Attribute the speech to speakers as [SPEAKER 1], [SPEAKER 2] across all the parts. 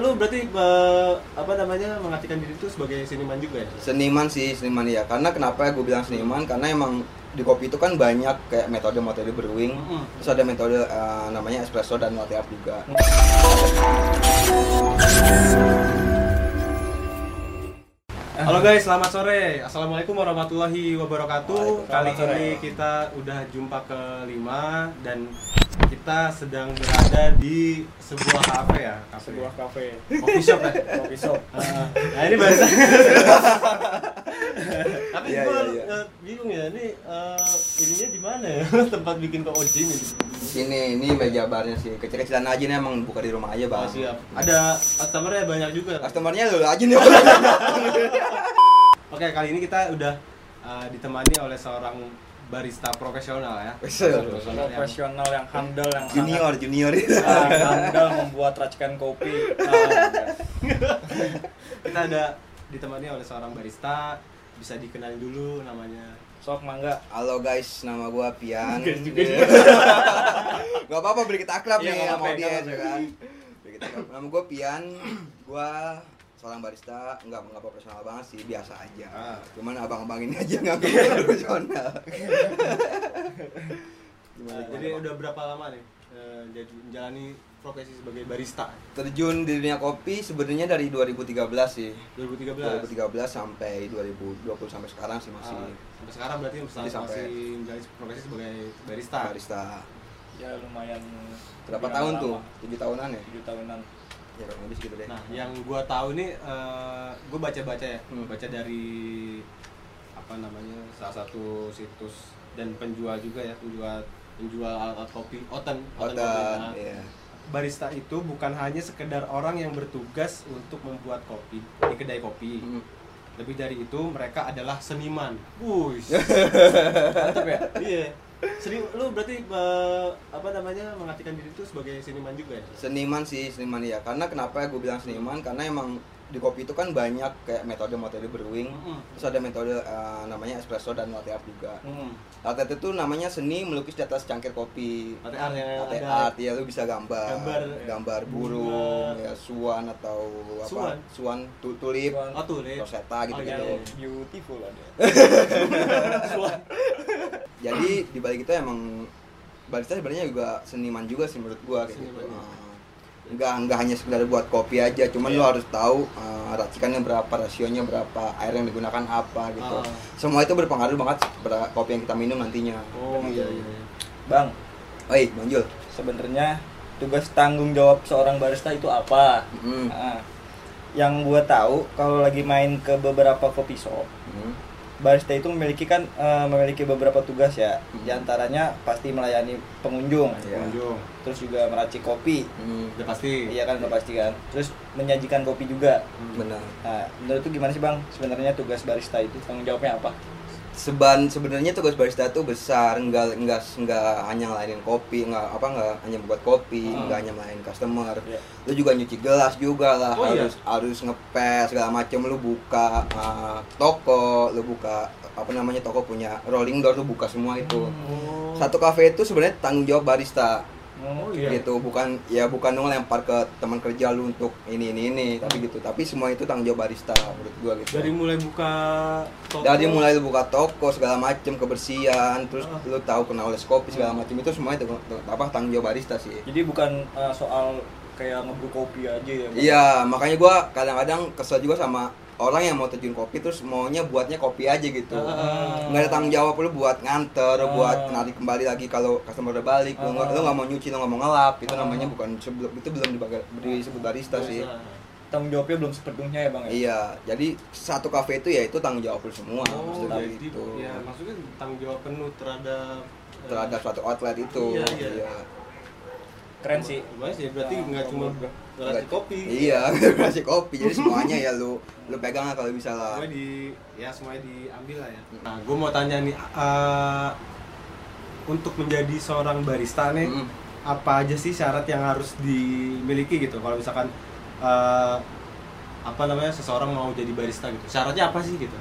[SPEAKER 1] berarti eh, apa namanya mengartikan diri itu sebagai seniman juga ya?
[SPEAKER 2] Seniman sih, seniman ya. Karena kenapa gue bilang seniman? Karena emang di kopi itu kan banyak kayak metode-metode brewing.
[SPEAKER 1] Mm-mm.
[SPEAKER 2] Terus ada metode eh, namanya espresso dan latte art juga.
[SPEAKER 1] Halo guys, selamat sore. Assalamualaikum warahmatullahi wabarakatuh. Kali
[SPEAKER 3] Waalaikumsalam.
[SPEAKER 1] ini kita udah jumpa kelima dan kita sedang berada di sebuah kafe ya, kafe.
[SPEAKER 3] sebuah kafe
[SPEAKER 1] coffee shop ya.
[SPEAKER 3] coffee shop
[SPEAKER 1] Ah, nah ini bahasa. Tapi
[SPEAKER 2] Iya,
[SPEAKER 1] gua
[SPEAKER 2] iya, iya.
[SPEAKER 1] eh, bingung ya, ini eh, ininya di mana ya? Tempat bikin kok ojin ini.
[SPEAKER 2] Sini ini meja barnya sih. Kecil-kecilan aja nih emang buka di rumah aja, Bang.
[SPEAKER 1] Ah, siap.
[SPEAKER 3] iya.
[SPEAKER 1] Ada customernya banyak juga.
[SPEAKER 2] Customernya lu aja nih. Bang.
[SPEAKER 1] Oke, kali ini kita udah eh, ditemani oleh seorang barista profesional ya.
[SPEAKER 2] Wes,
[SPEAKER 1] Profesional yang-
[SPEAKER 3] profesional yang handal yang
[SPEAKER 2] junior, junior.
[SPEAKER 3] sangat, ah, handal membuat racikan kopi Ah,
[SPEAKER 1] kita ada ditemani oleh seorang barista bisa dikenalin dulu namanya
[SPEAKER 3] sok mangga
[SPEAKER 2] Halo guys, nama gua Pian.
[SPEAKER 1] Guys juga.
[SPEAKER 2] Gak apa-apa beri kita akrab
[SPEAKER 3] Iya,
[SPEAKER 2] nih
[SPEAKER 3] nggak
[SPEAKER 2] sama
[SPEAKER 3] apa-apa,
[SPEAKER 2] audiens
[SPEAKER 3] nggak
[SPEAKER 2] ya kan. Beri kita akrab. Nama gua Pian, gua seorang barista, nggak nggak profesional banget sih, biasa aja.
[SPEAKER 1] Ah.
[SPEAKER 2] Cuman abang-abang ini aja nggak profesional.
[SPEAKER 1] Nah,
[SPEAKER 2] Gimana,
[SPEAKER 1] Eh, jadi
[SPEAKER 2] gimana, Bang?
[SPEAKER 1] udah berapa lama nih eh, jadi menjalani profesi sebagai barista
[SPEAKER 2] terjun di dunia kopi sebenarnya dari 2013 sih.
[SPEAKER 1] 2013
[SPEAKER 2] 2013 sampai 2020 sampai sekarang sih masih
[SPEAKER 1] Ah, sampai sekarang berarti masih,
[SPEAKER 2] sampai-
[SPEAKER 1] masih menjalani profesi sebagai barista
[SPEAKER 2] barista.
[SPEAKER 3] ya lumayan
[SPEAKER 2] Berapa
[SPEAKER 3] lumayan
[SPEAKER 2] tahun
[SPEAKER 3] lama.
[SPEAKER 2] tuh? 7 tahunan ya?
[SPEAKER 3] tujuh tahunan
[SPEAKER 2] Ya kurang lebih segitu deh.
[SPEAKER 1] nah yang gua tahu nih eh, gua baca-baca ya
[SPEAKER 2] Hmm.
[SPEAKER 1] baca dari apa namanya salah satu situs dan penjual juga ya penjual penjual alat kopi oten oten kopi. Nah,
[SPEAKER 2] Otak, iya.
[SPEAKER 1] Barista itu bukan hanya sekedar orang yang bertugas untuk membuat kopi di kedai kopi.
[SPEAKER 2] Hmm.
[SPEAKER 1] Lebih dari itu, mereka adalah seniman. Wush.
[SPEAKER 3] mantap ya
[SPEAKER 1] iya. Seni, lu berarti eh, apa namanya mengartikan diri itu sebagai seniman juga ya?
[SPEAKER 2] Seniman sih, seniman ya. Karena kenapa gue bilang seniman? Karena emang di kopi itu kan banyak kayak metode-metode brewing.
[SPEAKER 1] Mm-mm.
[SPEAKER 2] Terus ada metode eh, namanya espresso dan latte art juga.
[SPEAKER 1] Hmm.
[SPEAKER 2] Latte art itu namanya seni melukis di atas cangkir kopi.
[SPEAKER 1] Latte art yang
[SPEAKER 2] Latte
[SPEAKER 1] ada-
[SPEAKER 2] art, ya lu bisa gambar,
[SPEAKER 1] Gambar, ya.
[SPEAKER 2] gambar burung,
[SPEAKER 1] Bunga.
[SPEAKER 2] ya suan atau apa?
[SPEAKER 1] Suan?
[SPEAKER 2] Suan, tu- tulip,
[SPEAKER 3] Suan.
[SPEAKER 1] Oh tuh, Le.
[SPEAKER 2] rosetta
[SPEAKER 1] Oh,
[SPEAKER 2] gitu-gitu.
[SPEAKER 1] iya, iya.
[SPEAKER 3] Ya, beautiful ada
[SPEAKER 1] Suan.
[SPEAKER 2] jadi di balik itu emang barista sebenarnya juga seniman juga sih menurut gua kayak gitu.
[SPEAKER 1] Seniman, ya.
[SPEAKER 2] Eh, Enggak enggak hanya sekedar buat kopi aja, cuman
[SPEAKER 1] Iya.
[SPEAKER 2] lo harus tahu eh, racikannya berapa, rasionya berapa, air yang digunakan apa gitu.
[SPEAKER 1] Ah.
[SPEAKER 2] Semua itu berpengaruh banget pada kopi yang kita minum nantinya.
[SPEAKER 1] Oh iya iya. iya.
[SPEAKER 3] bang
[SPEAKER 2] Oi, Bang Jul.
[SPEAKER 3] sebenarnya tugas tanggung jawab seorang barista itu apa
[SPEAKER 2] Mm-mm.
[SPEAKER 3] Ah, yang gua tahu kalau lagi main ke beberapa coffee shop
[SPEAKER 2] Mm.
[SPEAKER 3] barista itu memiliki kan eh, memiliki beberapa tugas ya
[SPEAKER 2] Hmm.
[SPEAKER 3] diantaranya pasti melayani pengunjung
[SPEAKER 2] Iya.
[SPEAKER 1] Pengunjung.
[SPEAKER 3] terus juga meracik kopi
[SPEAKER 2] Mm.
[SPEAKER 1] Udah pasti.
[SPEAKER 3] iya kan udah pasti kan terus menyajikan kopi juga
[SPEAKER 1] Hmm.
[SPEAKER 2] Benar.
[SPEAKER 3] nah menurut tuh gimana sih bang sebenarnya tugas barista itu tanggung jawabnya apa
[SPEAKER 2] Seban sebenarnya tugas barista tuh besar, enggak enggak enggak hanya ngelayanin kopi, enggak apa enggak hanya buat kopi,
[SPEAKER 1] Ah.
[SPEAKER 2] enggak hanya melayani customer.
[SPEAKER 3] Iya.
[SPEAKER 2] lu juga nyuci gelas juga lah
[SPEAKER 1] Oh, iya?
[SPEAKER 2] harus harus ngepes segala macem lu buka uh, toko lu buka apa namanya toko punya rolling door lu buka semua itu
[SPEAKER 1] Oh.
[SPEAKER 2] satu kafe itu sebenarnya tanggung jawab barista
[SPEAKER 1] Oh iya.
[SPEAKER 2] gitu bukan ya bukan lu ngelempar ke teman kerja lu untuk ini ini ini tapi gitu tapi semua itu tanggung jawab barista menurut gua gitu
[SPEAKER 1] Hmm. Dari mulai buka toko.
[SPEAKER 2] dari mulai lu buka toko segala macem kebersihan terus
[SPEAKER 1] Ah.
[SPEAKER 2] lu tahu kena oles kopi segala
[SPEAKER 1] Hmm.
[SPEAKER 2] macem itu semua itu itu apa tanggung jawab barista sih
[SPEAKER 3] jadi bukan eh, soal kayak ngebrew kopi aja ya Bang?
[SPEAKER 2] Iya, makanya gua kadang-kadang kesel juga sama orang yang mau terjun kopi terus maunya buatnya kopi aja gitu.
[SPEAKER 1] Ah.
[SPEAKER 2] Nggak ada tanggung jawab lu buat nganter,
[SPEAKER 3] Ah.
[SPEAKER 2] buat narik kembali lagi kalau customer udah balik, lu
[SPEAKER 1] Ah.
[SPEAKER 2] nggak lu nggak mau nyuci, lu nggak mau ngelap, itu namanya bukan sebelum itu belum dibagi- disebut barista Iya sih.
[SPEAKER 3] tanggung jawabnya belum sepenuhnya ya bang ya
[SPEAKER 2] Iya, jadi satu kafe itu ya itu tanggung jawab lu semua,
[SPEAKER 1] Oh,
[SPEAKER 2] maksudnya
[SPEAKER 1] jadi
[SPEAKER 2] gitu.
[SPEAKER 1] ya maksudnya tanggung jawab penuh terhadap eh,
[SPEAKER 2] Terhadap suatu outlet itu.
[SPEAKER 1] Iya, iya.
[SPEAKER 3] keren sih
[SPEAKER 1] Lumayan sih, berarti
[SPEAKER 3] Nah,
[SPEAKER 1] nggak cuma
[SPEAKER 3] gua-
[SPEAKER 1] garasi kopi.
[SPEAKER 2] Iya, ngasih kopi. Jadi semuanya ya lu lu pegang lah kalau bisa lah.
[SPEAKER 1] Semuanya di ya semuanya diambil lah ya.
[SPEAKER 2] Hmm.
[SPEAKER 1] Nah, gue mau tanya nih eh, untuk menjadi seorang barista nih
[SPEAKER 2] Mm.
[SPEAKER 1] apa aja sih syarat yang harus dimiliki gitu? Kalau misalkan eh, apa namanya seseorang mau jadi barista gitu. Syaratnya apa sih gitu?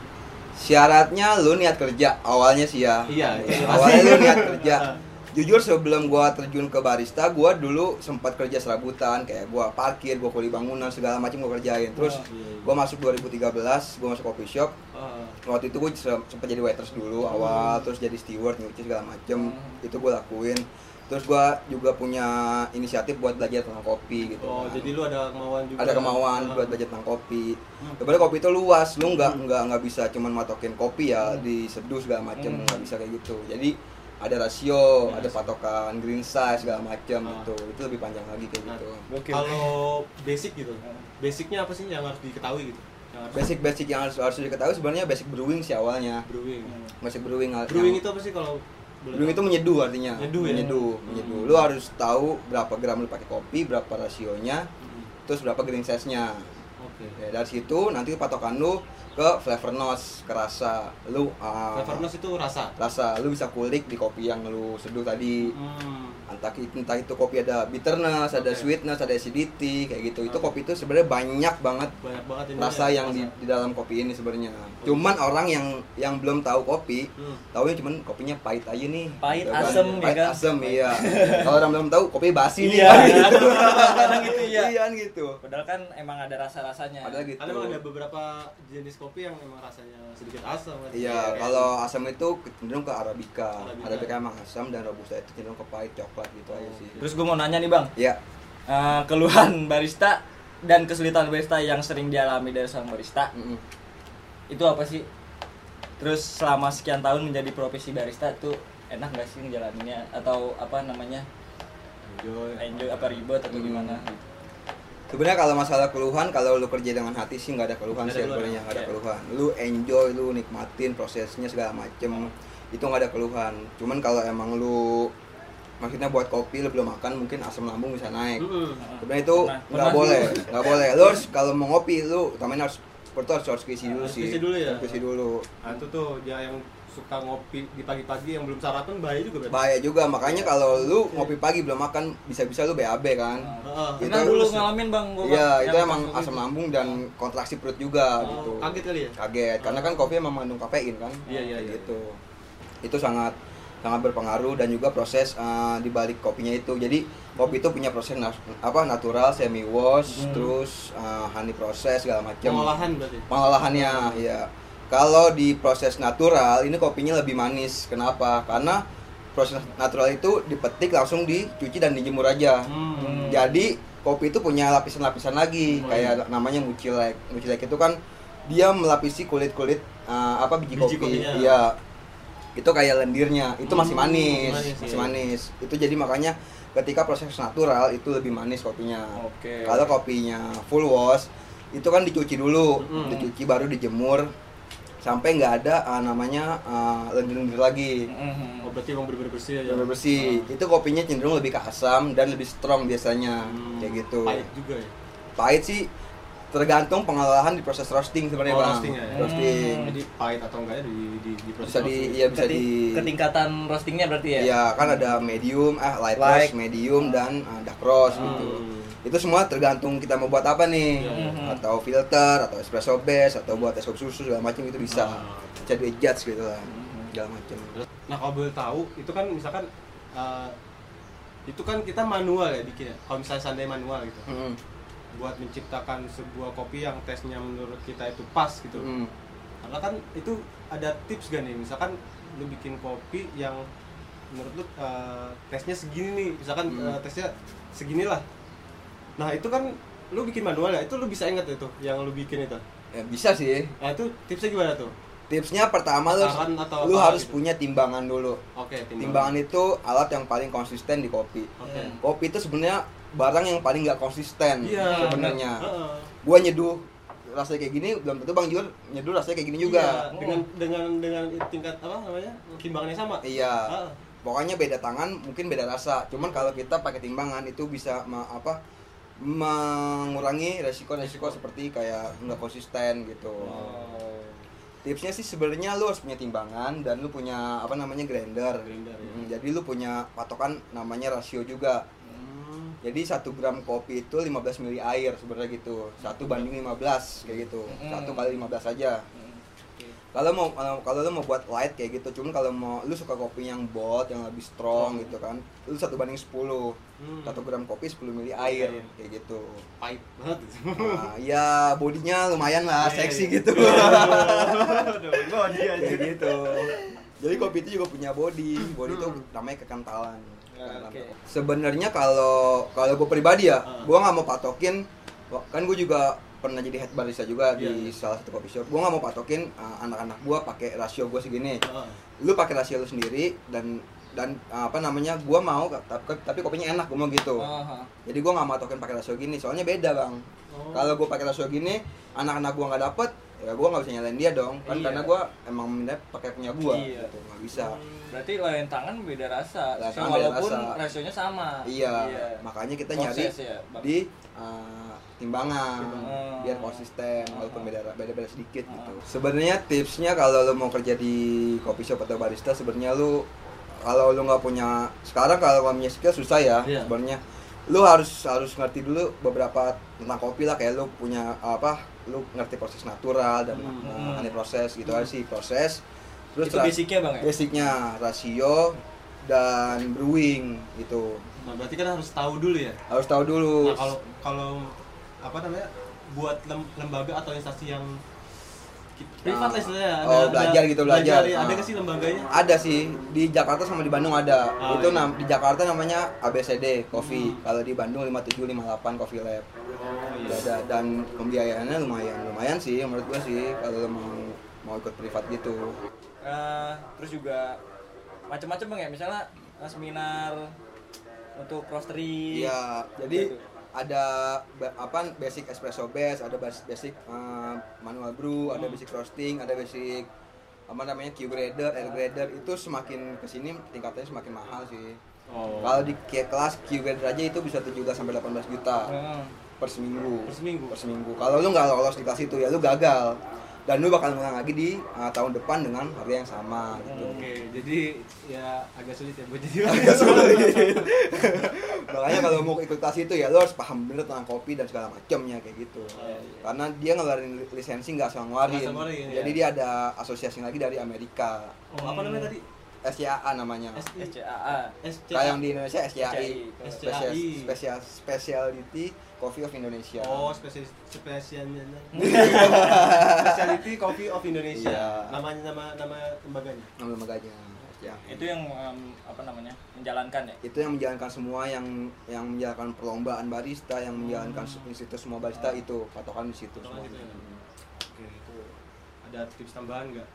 [SPEAKER 2] Syaratnya lu niat kerja awalnya sih ya.
[SPEAKER 1] Iya, iya.
[SPEAKER 2] awalnya lu niat kerja. jujur sebelum gua terjun ke barista gua dulu sempat kerja serabutan kayak gua parkir gua kuli bangunan segala macam gua kerjain terus
[SPEAKER 1] Wah, iya, iya.
[SPEAKER 2] gua masuk 2013 gua masuk coffee shop
[SPEAKER 1] Ah,
[SPEAKER 2] waktu itu gue sempat jadi waiters dulu
[SPEAKER 1] Hmm.
[SPEAKER 2] awal terus jadi steward nyuci segala macem
[SPEAKER 3] Hmm.
[SPEAKER 2] itu gue lakuin terus gue juga punya inisiatif buat belajar tentang kopi gitu
[SPEAKER 1] oh
[SPEAKER 2] kan.
[SPEAKER 1] jadi lu ada kemauan juga
[SPEAKER 2] ada kemauan
[SPEAKER 1] Ah.
[SPEAKER 2] buat belajar tentang kopi sebenarnya kopi itu luas lu nggak
[SPEAKER 1] Hmm.
[SPEAKER 2] nggak nggak bisa cuman matokin kopi ya diseduh segala macem
[SPEAKER 3] Hmm.
[SPEAKER 2] nggak bisa kayak gitu jadi ada rasio
[SPEAKER 1] Ada
[SPEAKER 2] ada
[SPEAKER 1] rasio.
[SPEAKER 2] patokan green size segala macem
[SPEAKER 1] Ah.
[SPEAKER 2] gitu itu lebih panjang lagi kayak
[SPEAKER 1] Nah,
[SPEAKER 2] gitu
[SPEAKER 3] Gokil.
[SPEAKER 1] kalau basic gitu basicnya apa sih yang harus diketahui gitu yang harus
[SPEAKER 2] basic basic yang harus harus diketahui sebenarnya basic brewing sih awalnya
[SPEAKER 1] brewing
[SPEAKER 2] basic brewing hal-
[SPEAKER 1] brewing
[SPEAKER 2] Hmm. yang-
[SPEAKER 1] itu apa sih kalau boleh
[SPEAKER 2] Brewing itu
[SPEAKER 1] tahu?
[SPEAKER 2] menyeduh artinya.
[SPEAKER 1] Menyeduh ya?
[SPEAKER 2] Menyeduh,
[SPEAKER 1] Hmm.
[SPEAKER 2] menyeduh. Lu harus tahu berapa gram lu pakai kopi, berapa rasionya,
[SPEAKER 1] Hmm,
[SPEAKER 2] terus berapa green size-nya.
[SPEAKER 1] oke
[SPEAKER 2] Ya, dari situ nanti patokan lu ke flavor notes, ke rasa. Lu uh,
[SPEAKER 1] Flavorness itu rasa
[SPEAKER 2] rasa lu bisa kulik di kopi yang lu seduh tadi.
[SPEAKER 1] Hmm,
[SPEAKER 2] Entah, entah itu kopi ada bitterness, ada
[SPEAKER 1] Oke.
[SPEAKER 2] sweetness, ada acidity, kayak gitu. Itu
[SPEAKER 1] Oke.
[SPEAKER 2] kopi itu sebenarnya banyak banget
[SPEAKER 1] banyak banget ini ya,
[SPEAKER 2] rasa yang di, di dalam kopi ini sebenarnya.
[SPEAKER 1] Oke.
[SPEAKER 2] Cuman orang yang yang belum tahu kopi,
[SPEAKER 1] Hmm.
[SPEAKER 2] Taunya cuman kopinya pahit aja nih.
[SPEAKER 3] Pahit,
[SPEAKER 2] Gitu kan.
[SPEAKER 3] asem, ya
[SPEAKER 2] pahit
[SPEAKER 3] kan?
[SPEAKER 2] asem iya. Kalau orang belum tahu kopi basi nih.
[SPEAKER 3] Iya,
[SPEAKER 2] kan, gitu.
[SPEAKER 3] kadang gitu ya.
[SPEAKER 2] Iya, kan, gitu.
[SPEAKER 3] Padahal kan emang ada rasa-rasanya.
[SPEAKER 2] Padahal gitu.
[SPEAKER 1] Ada emang ada beberapa jenis kopi yang emang rasanya sedikit asam. kan?
[SPEAKER 2] Iya,
[SPEAKER 1] Kayak-
[SPEAKER 2] kalau asam itu cenderung ke arabica.
[SPEAKER 1] Arabica.
[SPEAKER 2] Arabica emang asam dan robusta itu cenderung ke pahit coklat gitu aja sih.
[SPEAKER 3] Terus gue mau nanya nih bang,
[SPEAKER 2] Iya.
[SPEAKER 3] Eh, keluhan barista dan kesulitan barista yang sering dialami dari seorang barista
[SPEAKER 2] Mm-mm.
[SPEAKER 3] itu apa sih? Terus selama sekian tahun menjadi profesi barista tuh enak gak sih ngejalaninnya atau apa namanya
[SPEAKER 1] Enjoy.
[SPEAKER 3] enjoy apa ribet atau
[SPEAKER 2] Hmm.
[SPEAKER 3] gimana?
[SPEAKER 2] Sebenarnya kalau masalah keluhan, kalau lu kerja dengan hati sih nggak ada keluhan
[SPEAKER 1] Nggak ada
[SPEAKER 2] sih
[SPEAKER 1] keluhan,
[SPEAKER 2] sebenarnya nggak ada
[SPEAKER 3] iya.
[SPEAKER 2] keluhan. Lu enjoy, lu nikmatin prosesnya segala macem itu nggak ada keluhan. Cuman kalau emang lu maksudnya buat kopi lu belum makan mungkin asam lambung bisa naik.
[SPEAKER 1] Mm-mm.
[SPEAKER 2] sebenarnya itu
[SPEAKER 3] Pernah,
[SPEAKER 2] nggak
[SPEAKER 3] pernah
[SPEAKER 2] boleh
[SPEAKER 3] dulu.
[SPEAKER 2] nggak boleh lu harus kalau mau ngopi lu utamanya harus pertama harus harus kisi dulu
[SPEAKER 1] Harus
[SPEAKER 2] sih
[SPEAKER 1] kisi dulu ya?
[SPEAKER 2] Harus kisi dulu
[SPEAKER 1] Nah, itu tuh dia yang suka ngopi di pagi-pagi yang belum sarapan bahaya juga berarti.
[SPEAKER 2] bahaya juga makanya kalau lu ngopi pagi belum makan bisa-bisa lu BAB kan
[SPEAKER 3] Ah.
[SPEAKER 1] Heeh.
[SPEAKER 2] Itu
[SPEAKER 3] Pernah dulu
[SPEAKER 2] harus-
[SPEAKER 3] ngalamin bang gue.
[SPEAKER 2] iya itu emang asam lambung dan kontraksi perut juga
[SPEAKER 1] Oh,
[SPEAKER 2] gitu
[SPEAKER 1] kaget kali ya?
[SPEAKER 2] kaget karena kan kopi emang mengandung kafein kan
[SPEAKER 1] Iya, iya,
[SPEAKER 2] Kayak
[SPEAKER 1] iya.
[SPEAKER 2] gitu itu sangat sangat berpengaruh dan juga proses eh, di balik kopinya itu jadi kopi itu punya proses nas- apa natural semi wash terus eh, honey proses segala macam
[SPEAKER 1] Hmm. Pengolahan berarti.
[SPEAKER 2] pengolahannya ya kalau di proses natural ini kopinya lebih manis kenapa karena proses natural itu dipetik langsung dicuci dan dijemur aja
[SPEAKER 1] Hmm.
[SPEAKER 2] jadi kopi itu punya lapisan-lapisan lagi
[SPEAKER 1] Hmm.
[SPEAKER 2] kayak namanya mucilek mucilek itu kan dia melapisi kulit-kulit eh, apa biji,
[SPEAKER 1] Biji
[SPEAKER 2] kopi
[SPEAKER 1] kopinya.
[SPEAKER 2] iya itu kayak lendirnya itu masih
[SPEAKER 1] Hmm,
[SPEAKER 2] manis
[SPEAKER 1] manis,
[SPEAKER 2] masih
[SPEAKER 1] iya.
[SPEAKER 2] manis itu jadi makanya ketika proses natural itu lebih manis kopinya
[SPEAKER 1] Oh.
[SPEAKER 3] Oke.
[SPEAKER 2] kalau kopinya full wash itu kan dicuci dulu,
[SPEAKER 1] Mm-mm.
[SPEAKER 2] dicuci baru dijemur sampai nggak ada ah, namanya ah, lendir-lendir lagi.
[SPEAKER 3] Hmm.
[SPEAKER 1] Oh, berarti emang bener-bener bersih aja.
[SPEAKER 2] Bener bersih.
[SPEAKER 1] Ah.
[SPEAKER 2] Itu kopinya cenderung lebih ke asam dan lebih strong biasanya.
[SPEAKER 1] Hmm,
[SPEAKER 2] Kayak gitu.
[SPEAKER 1] Pahit juga ya.
[SPEAKER 2] Pahit sih tergantung pengolahan di proses roasting sebenarnya,
[SPEAKER 1] Oh,
[SPEAKER 2] Bang.
[SPEAKER 1] roasting ya.
[SPEAKER 2] Roasting.
[SPEAKER 1] Jadi pahit atau enggaknya di di di proses.
[SPEAKER 2] Iya. Bisa di
[SPEAKER 1] roasting.
[SPEAKER 2] iya bisa di
[SPEAKER 3] ketingkatan roastingnya berarti ya?
[SPEAKER 2] Iya, kan ada medium, ah light,
[SPEAKER 3] Light.
[SPEAKER 2] roast, medium dan ah, dark roast
[SPEAKER 1] Hmm.
[SPEAKER 2] gitu. Itu semua tergantung kita mau buat apa nih.
[SPEAKER 1] Iya, iya.
[SPEAKER 2] Atau filter, atau espresso base, atau buat es kopi susu segala macam itu bisa.
[SPEAKER 1] Ah.
[SPEAKER 2] Jadi judge gitu lah. Segala macam.
[SPEAKER 1] Nah kalau boleh tahu itu kan misalkan eh, itu kan kita manual ya bikinnya. Kalau misalnya seandainya manual gitu.
[SPEAKER 2] Mm.
[SPEAKER 1] buat menciptakan sebuah kopi yang tesnya menurut kita itu pas gitu.
[SPEAKER 2] Mm.
[SPEAKER 1] Karena kan itu ada tips gak nih, misalkan lu bikin kopi yang menurut lu eh, tesnya segini nih, misalkan eh,
[SPEAKER 2] Hmm.
[SPEAKER 1] tesnya seginilah. Nah itu kan lu bikin manual ya, itu lu bisa inget itu yang lu bikin itu.
[SPEAKER 2] Ya, bisa sih.
[SPEAKER 1] Nah itu tipsnya gimana tuh?
[SPEAKER 2] Tipsnya pertama lu
[SPEAKER 1] Saran atau
[SPEAKER 2] lu
[SPEAKER 1] apa
[SPEAKER 2] harus
[SPEAKER 1] gitu?
[SPEAKER 2] punya timbangan dulu.
[SPEAKER 1] Oke,
[SPEAKER 2] Timbangan Hmm. itu alat yang paling konsisten di kopi.
[SPEAKER 1] Oke.
[SPEAKER 2] Kopi itu sebenarnya barang yang paling nggak konsisten
[SPEAKER 1] Iya.
[SPEAKER 2] sebenarnya.
[SPEAKER 1] Heeh.
[SPEAKER 2] Gua nyeduh rasanya kayak gini, belum tentu Bang Jur nyeduh rasanya kayak gini juga.
[SPEAKER 1] Iya, dengan dengan dengan tingkat apa namanya? Timbangannya sama.
[SPEAKER 2] Iya.
[SPEAKER 1] Heeh.
[SPEAKER 2] Pokoknya beda tangan mungkin beda rasa. Cuman kalau kita pakai timbangan itu bisa ma- apa mengurangi resiko-resiko seperti kayak nggak konsisten gitu.
[SPEAKER 1] Oh.
[SPEAKER 2] Tipsnya sih sebenarnya lu harus punya timbangan dan lu punya apa namanya grinder.
[SPEAKER 1] Grinder, ya.
[SPEAKER 2] Mm, Jadi lu punya patokan namanya rasio juga.
[SPEAKER 1] Hmm.
[SPEAKER 2] Jadi satu gram kopi itu 15 ml
[SPEAKER 1] Hmm.
[SPEAKER 2] air sebenarnya gitu. Satu banding 15 kayak gitu.
[SPEAKER 3] Mm.
[SPEAKER 2] Satu kali 15 aja. kalau mau kalau- kalau lu mau buat light kayak gitu cuman kalau mau lu suka kopi yang bot yang lebih strong gitu kan lu satu banding 10
[SPEAKER 1] Hmm.
[SPEAKER 2] satu gram kopi 10 mili air
[SPEAKER 1] Air.
[SPEAKER 2] kayak gitu
[SPEAKER 1] pahit banget itu.
[SPEAKER 2] nah, ya bodinya lumayan lah
[SPEAKER 1] Iya,
[SPEAKER 2] seksi
[SPEAKER 1] iya.
[SPEAKER 2] gitu
[SPEAKER 1] Aduh, body
[SPEAKER 2] kayak
[SPEAKER 1] anjir.
[SPEAKER 2] gitu jadi kopi itu juga punya body body itu
[SPEAKER 1] Hmm.
[SPEAKER 2] namanya kekantalan
[SPEAKER 1] Ya, oke.
[SPEAKER 2] sebenarnya kalau kalau gue pribadi ya
[SPEAKER 1] Ah.
[SPEAKER 2] gue nggak mau patokin kan gue juga pernah jadi head barista juga di
[SPEAKER 1] Iya.
[SPEAKER 2] salah satu coffee shop gue nggak mau patokin uh, anak-anak gue pakai rasio gue segini
[SPEAKER 1] Heeh.
[SPEAKER 2] lu pakai rasio lu sendiri dan dan uh, apa namanya gue mau tapi, tapi kopinya enak gue mau gitu jadi gue nggak mau patokin pakai rasio gini soalnya beda bang
[SPEAKER 1] Oh.
[SPEAKER 2] kalau gue pakai rasio gini anak-anak gue nggak dapet ya gue nggak bisa nyalain dia dong kan
[SPEAKER 1] Iya.
[SPEAKER 2] karena gue emang minta pakai punya gue
[SPEAKER 4] Iya.
[SPEAKER 2] gitu nggak bisa
[SPEAKER 1] Hmm.
[SPEAKER 4] Berarti lain tangan beda rasa.
[SPEAKER 2] Layan tangan beda
[SPEAKER 4] walaupun
[SPEAKER 2] rasa.
[SPEAKER 4] rasionya sama.
[SPEAKER 2] iya makanya kita nyari
[SPEAKER 4] Proses ya, Bang.
[SPEAKER 2] di uh, timbangan
[SPEAKER 4] Timbangan.
[SPEAKER 2] biar konsisten
[SPEAKER 4] Ah.
[SPEAKER 2] walaupun beda beda beda sedikit
[SPEAKER 4] Ah.
[SPEAKER 2] gitu sebenarnya tipsnya kalau lo mau kerja di kopi shop atau barista sebenarnya lo kalau lo nggak punya sekarang kalau nggak punya skill susah ya
[SPEAKER 1] Iya.
[SPEAKER 2] sebenarnya lo harus harus ngerti dulu beberapa tentang kopi lah kayak lo punya apa lo ngerti proses natural dan
[SPEAKER 4] Hmm.
[SPEAKER 2] uh, aneh proses gitu aja sih proses terus
[SPEAKER 4] itu
[SPEAKER 2] ra-
[SPEAKER 4] basicnya bang ya?
[SPEAKER 2] basicnya rasio dan brewing gitu
[SPEAKER 1] Nah, berarti kan harus tahu dulu ya.
[SPEAKER 2] harus tahu dulu
[SPEAKER 1] Nah, kalau kalau apa namanya? buat lem- lembaga atau instansi yang ki- nah, privat lah istilahnya.
[SPEAKER 2] Oh, belajar gitu, belajar.
[SPEAKER 1] ya. Ada
[SPEAKER 2] Ah.
[SPEAKER 1] nggak sih lembaganya?
[SPEAKER 2] Ada sih di Jakarta sama di Bandung ada.
[SPEAKER 1] Oh,
[SPEAKER 2] itu
[SPEAKER 1] iya.
[SPEAKER 2] nam- di Jakarta namanya ABCD Coffee.
[SPEAKER 1] Hmm.
[SPEAKER 2] Kalau di Bandung 5758 Coffee Lab.
[SPEAKER 1] Oh,
[SPEAKER 2] Udah ada dan pembiayaannya lumayan lumayan sih menurut gua sih kalau lo mau mau ikut privat gitu.
[SPEAKER 4] Eh, terus juga macam-macam bang ya misalnya eh, seminar untuk roastery
[SPEAKER 2] Iya, jadi ada ba- apa basic espresso base, ada bas- basic eh, manual brew,
[SPEAKER 1] Hmm.
[SPEAKER 2] ada basic roasting, ada basic apa namanya Q grader, air grader itu semakin kesini tingkatannya semakin mahal sih.
[SPEAKER 1] Oh.
[SPEAKER 2] Kalau di ke- kelas Q grader aja itu bisa 17 sampai 18 juta
[SPEAKER 1] Ya.
[SPEAKER 4] Heeh.
[SPEAKER 2] per seminggu.
[SPEAKER 1] Per seminggu?
[SPEAKER 2] Per seminggu. Kalau lu nggak lolos di kelas itu ya lu gagal. Dan lu bakal ngulang lagi di eh, tahun depan dengan harga yang sama gitu.
[SPEAKER 1] Oke, jadi ya agak sulit ya buat jadi
[SPEAKER 2] Agak sulit. Makanya kalau mau ikut kelas itu ya lo harus paham bener tentang kopi dan segala macamnya kayak gitu.
[SPEAKER 1] iya,
[SPEAKER 2] Karena dia ngeluarin li- lisensi nggak asal ngeluarin.
[SPEAKER 1] Nggak asal ngeluarin, ya.
[SPEAKER 2] Jadi dia ada asosiasi lagi dari Amerika.
[SPEAKER 1] Oh, apa namanya tadi?
[SPEAKER 2] SCAA namanya.
[SPEAKER 4] SCAA
[SPEAKER 1] SCA.
[SPEAKER 2] Kayak yang di Indonesia SCAI.
[SPEAKER 4] SCAI.
[SPEAKER 2] Spesial spesial speciality Coffee of Indonesia.
[SPEAKER 1] Oh, spesial spesialnya. Speciality Coffee of Indonesia.
[SPEAKER 2] Iya.
[SPEAKER 1] Namanya nama nama lembaganya.
[SPEAKER 2] Nama lembaganya SCAA.
[SPEAKER 4] itu yang em, apa namanya menjalankan ya
[SPEAKER 2] Ya. itu yang menjalankan semua yang yang menjalankan perlombaan barista yang menjalankan institut semua barista itu patokan di situ
[SPEAKER 1] Hmm. Ah. Patokan
[SPEAKER 2] semua.
[SPEAKER 1] gitu ya. Oke, itu ada tips tambahan nggak?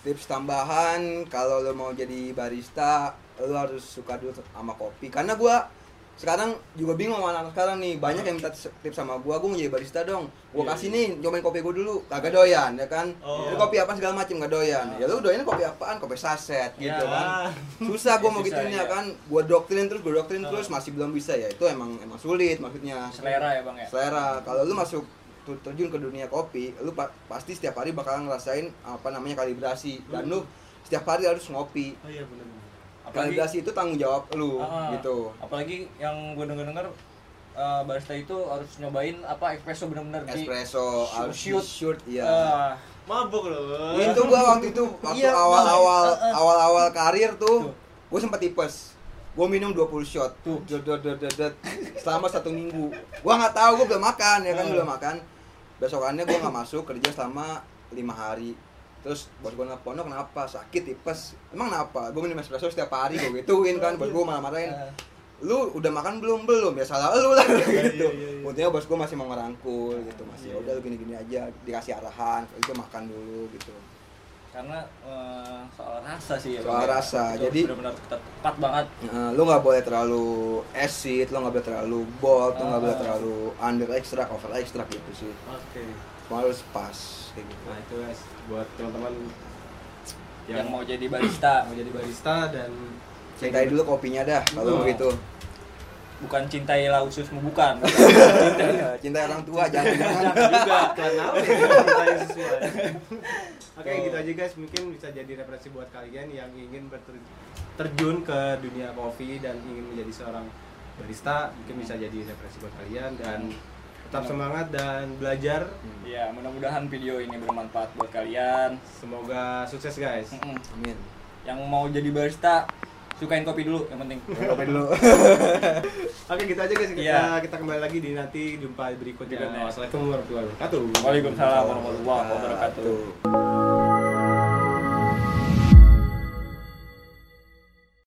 [SPEAKER 2] tips tambahan kalau lo mau jadi barista lo harus suka dulu sama kopi karena gua sekarang juga bingung sama anak sekarang nih banyak yang minta tips sama gua gua mau jadi barista dong gua
[SPEAKER 1] Iya,
[SPEAKER 2] kasih nih cobain kopi gua dulu kagak doyan ya kan
[SPEAKER 1] Oh. Ah.
[SPEAKER 2] Lu kopi apa segala macem gak doyan ya lu doyan kopi apaan kopi saset gitu
[SPEAKER 1] Ya.
[SPEAKER 4] Iya.
[SPEAKER 2] kan susah
[SPEAKER 4] Ya,
[SPEAKER 2] gua mau
[SPEAKER 4] susah,
[SPEAKER 2] gitunya
[SPEAKER 4] iya.
[SPEAKER 2] kan gua doktrin terus gua doktrin
[SPEAKER 1] Oh.
[SPEAKER 2] terus masih belum bisa ya itu emang emang sulit maksudnya
[SPEAKER 4] selera ya bang ya
[SPEAKER 2] selera kalau lu masuk tu- terjun ke dunia kopi lu pa- pasti setiap hari bakal ngerasain apa namanya kalibrasi dan
[SPEAKER 4] Hmm.
[SPEAKER 2] lu setiap hari harus ngopi
[SPEAKER 1] Oh iya benar.
[SPEAKER 4] apalagi
[SPEAKER 2] kalibrasi itu tanggung jawab lu
[SPEAKER 4] Ah,
[SPEAKER 2] gitu
[SPEAKER 4] apalagi yang gue denger dengar eh, barista itu harus nyobain apa espresso bener-bener di
[SPEAKER 2] espresso
[SPEAKER 4] shoot-
[SPEAKER 2] harus
[SPEAKER 4] shoot.
[SPEAKER 2] shoot iya
[SPEAKER 4] Ah,
[SPEAKER 1] Mabuk loh.
[SPEAKER 2] itu gua waktu itu waktu
[SPEAKER 4] Iya,
[SPEAKER 2] awal-awal
[SPEAKER 4] makanya.
[SPEAKER 2] awal-awal karir
[SPEAKER 4] Tuh.
[SPEAKER 2] tuh gua sempat tipes gua minum 20 shot
[SPEAKER 4] Tuh.
[SPEAKER 2] Dot, dot, dot, dot, dot. selama satu minggu gua nggak tahu gua belum makan ya kan
[SPEAKER 4] Hmm.
[SPEAKER 2] belum makan besokannya gua nggak masuk kerja selama lima hari terus bos gua nelfon "Lo kenapa sakit tipes emang kenapa gua minum espresso setiap hari gua gituin kan bos gua marah-marahin
[SPEAKER 4] eh,
[SPEAKER 2] lu udah makan belum belum ya salah lu lah gitu
[SPEAKER 1] iya, iya.
[SPEAKER 2] Untungnya bos gua masih mau ngerangkul gitu masih
[SPEAKER 1] Iya,
[SPEAKER 2] udah lu gini-gini aja dikasih arahan itu makan dulu gitu
[SPEAKER 4] karena eh, soal rasa sih ya
[SPEAKER 2] Soal
[SPEAKER 4] Bang, ya.
[SPEAKER 2] rasa,
[SPEAKER 4] Itu
[SPEAKER 2] jadi-
[SPEAKER 4] benar-benar tepat banget
[SPEAKER 2] Nah, lu nggak boleh terlalu acid, lu nggak boleh terlalu bold, lu nggak boleh
[SPEAKER 4] Ah.
[SPEAKER 2] terlalu under extract, over extract gitu sih.
[SPEAKER 1] Oke.
[SPEAKER 2] Semua harus pas kayak gitu.
[SPEAKER 1] Nah, itu guys buat teman-teman
[SPEAKER 2] Iya.
[SPEAKER 4] yang mau jadi barista
[SPEAKER 1] mau jadi barista dan
[SPEAKER 2] Cintai
[SPEAKER 1] gitu.
[SPEAKER 2] dulu kopinya dah
[SPEAKER 1] Oh.
[SPEAKER 2] kalau begitu.
[SPEAKER 4] bukan cintailah ususmu bukan
[SPEAKER 2] Cintai orang tua jangan jangan.
[SPEAKER 1] juga karena apa ya, cintanya sesuai. Oke,
[SPEAKER 4] Oh.
[SPEAKER 1] gitu aja guys. Mungkin bisa jadi referensi buat kalian yang ingin terjun ke dunia kopi dan ingin menjadi seorang barista, mungkin bisa jadi referensi buat kalian dan tetap semangat dan belajar
[SPEAKER 3] Iya, mudah-mudahan video ini bermanfaat buat kalian.
[SPEAKER 1] semoga sukses guys
[SPEAKER 3] Mm-mm.
[SPEAKER 2] Amin.
[SPEAKER 3] Yang mau jadi barista, sukain kopi dulu yang penting.
[SPEAKER 2] Sampai dulu.
[SPEAKER 1] oke gitu aja guys kita
[SPEAKER 3] Iya.
[SPEAKER 1] kita kembali lagi di nanti jumpa berikutnya
[SPEAKER 3] Berikutnya.
[SPEAKER 1] wassalamualaikum warahmatullahi wabarakatuh
[SPEAKER 3] Waalaikumsalam warahmatullahi wabarakatuh.
[SPEAKER 2] Tuh.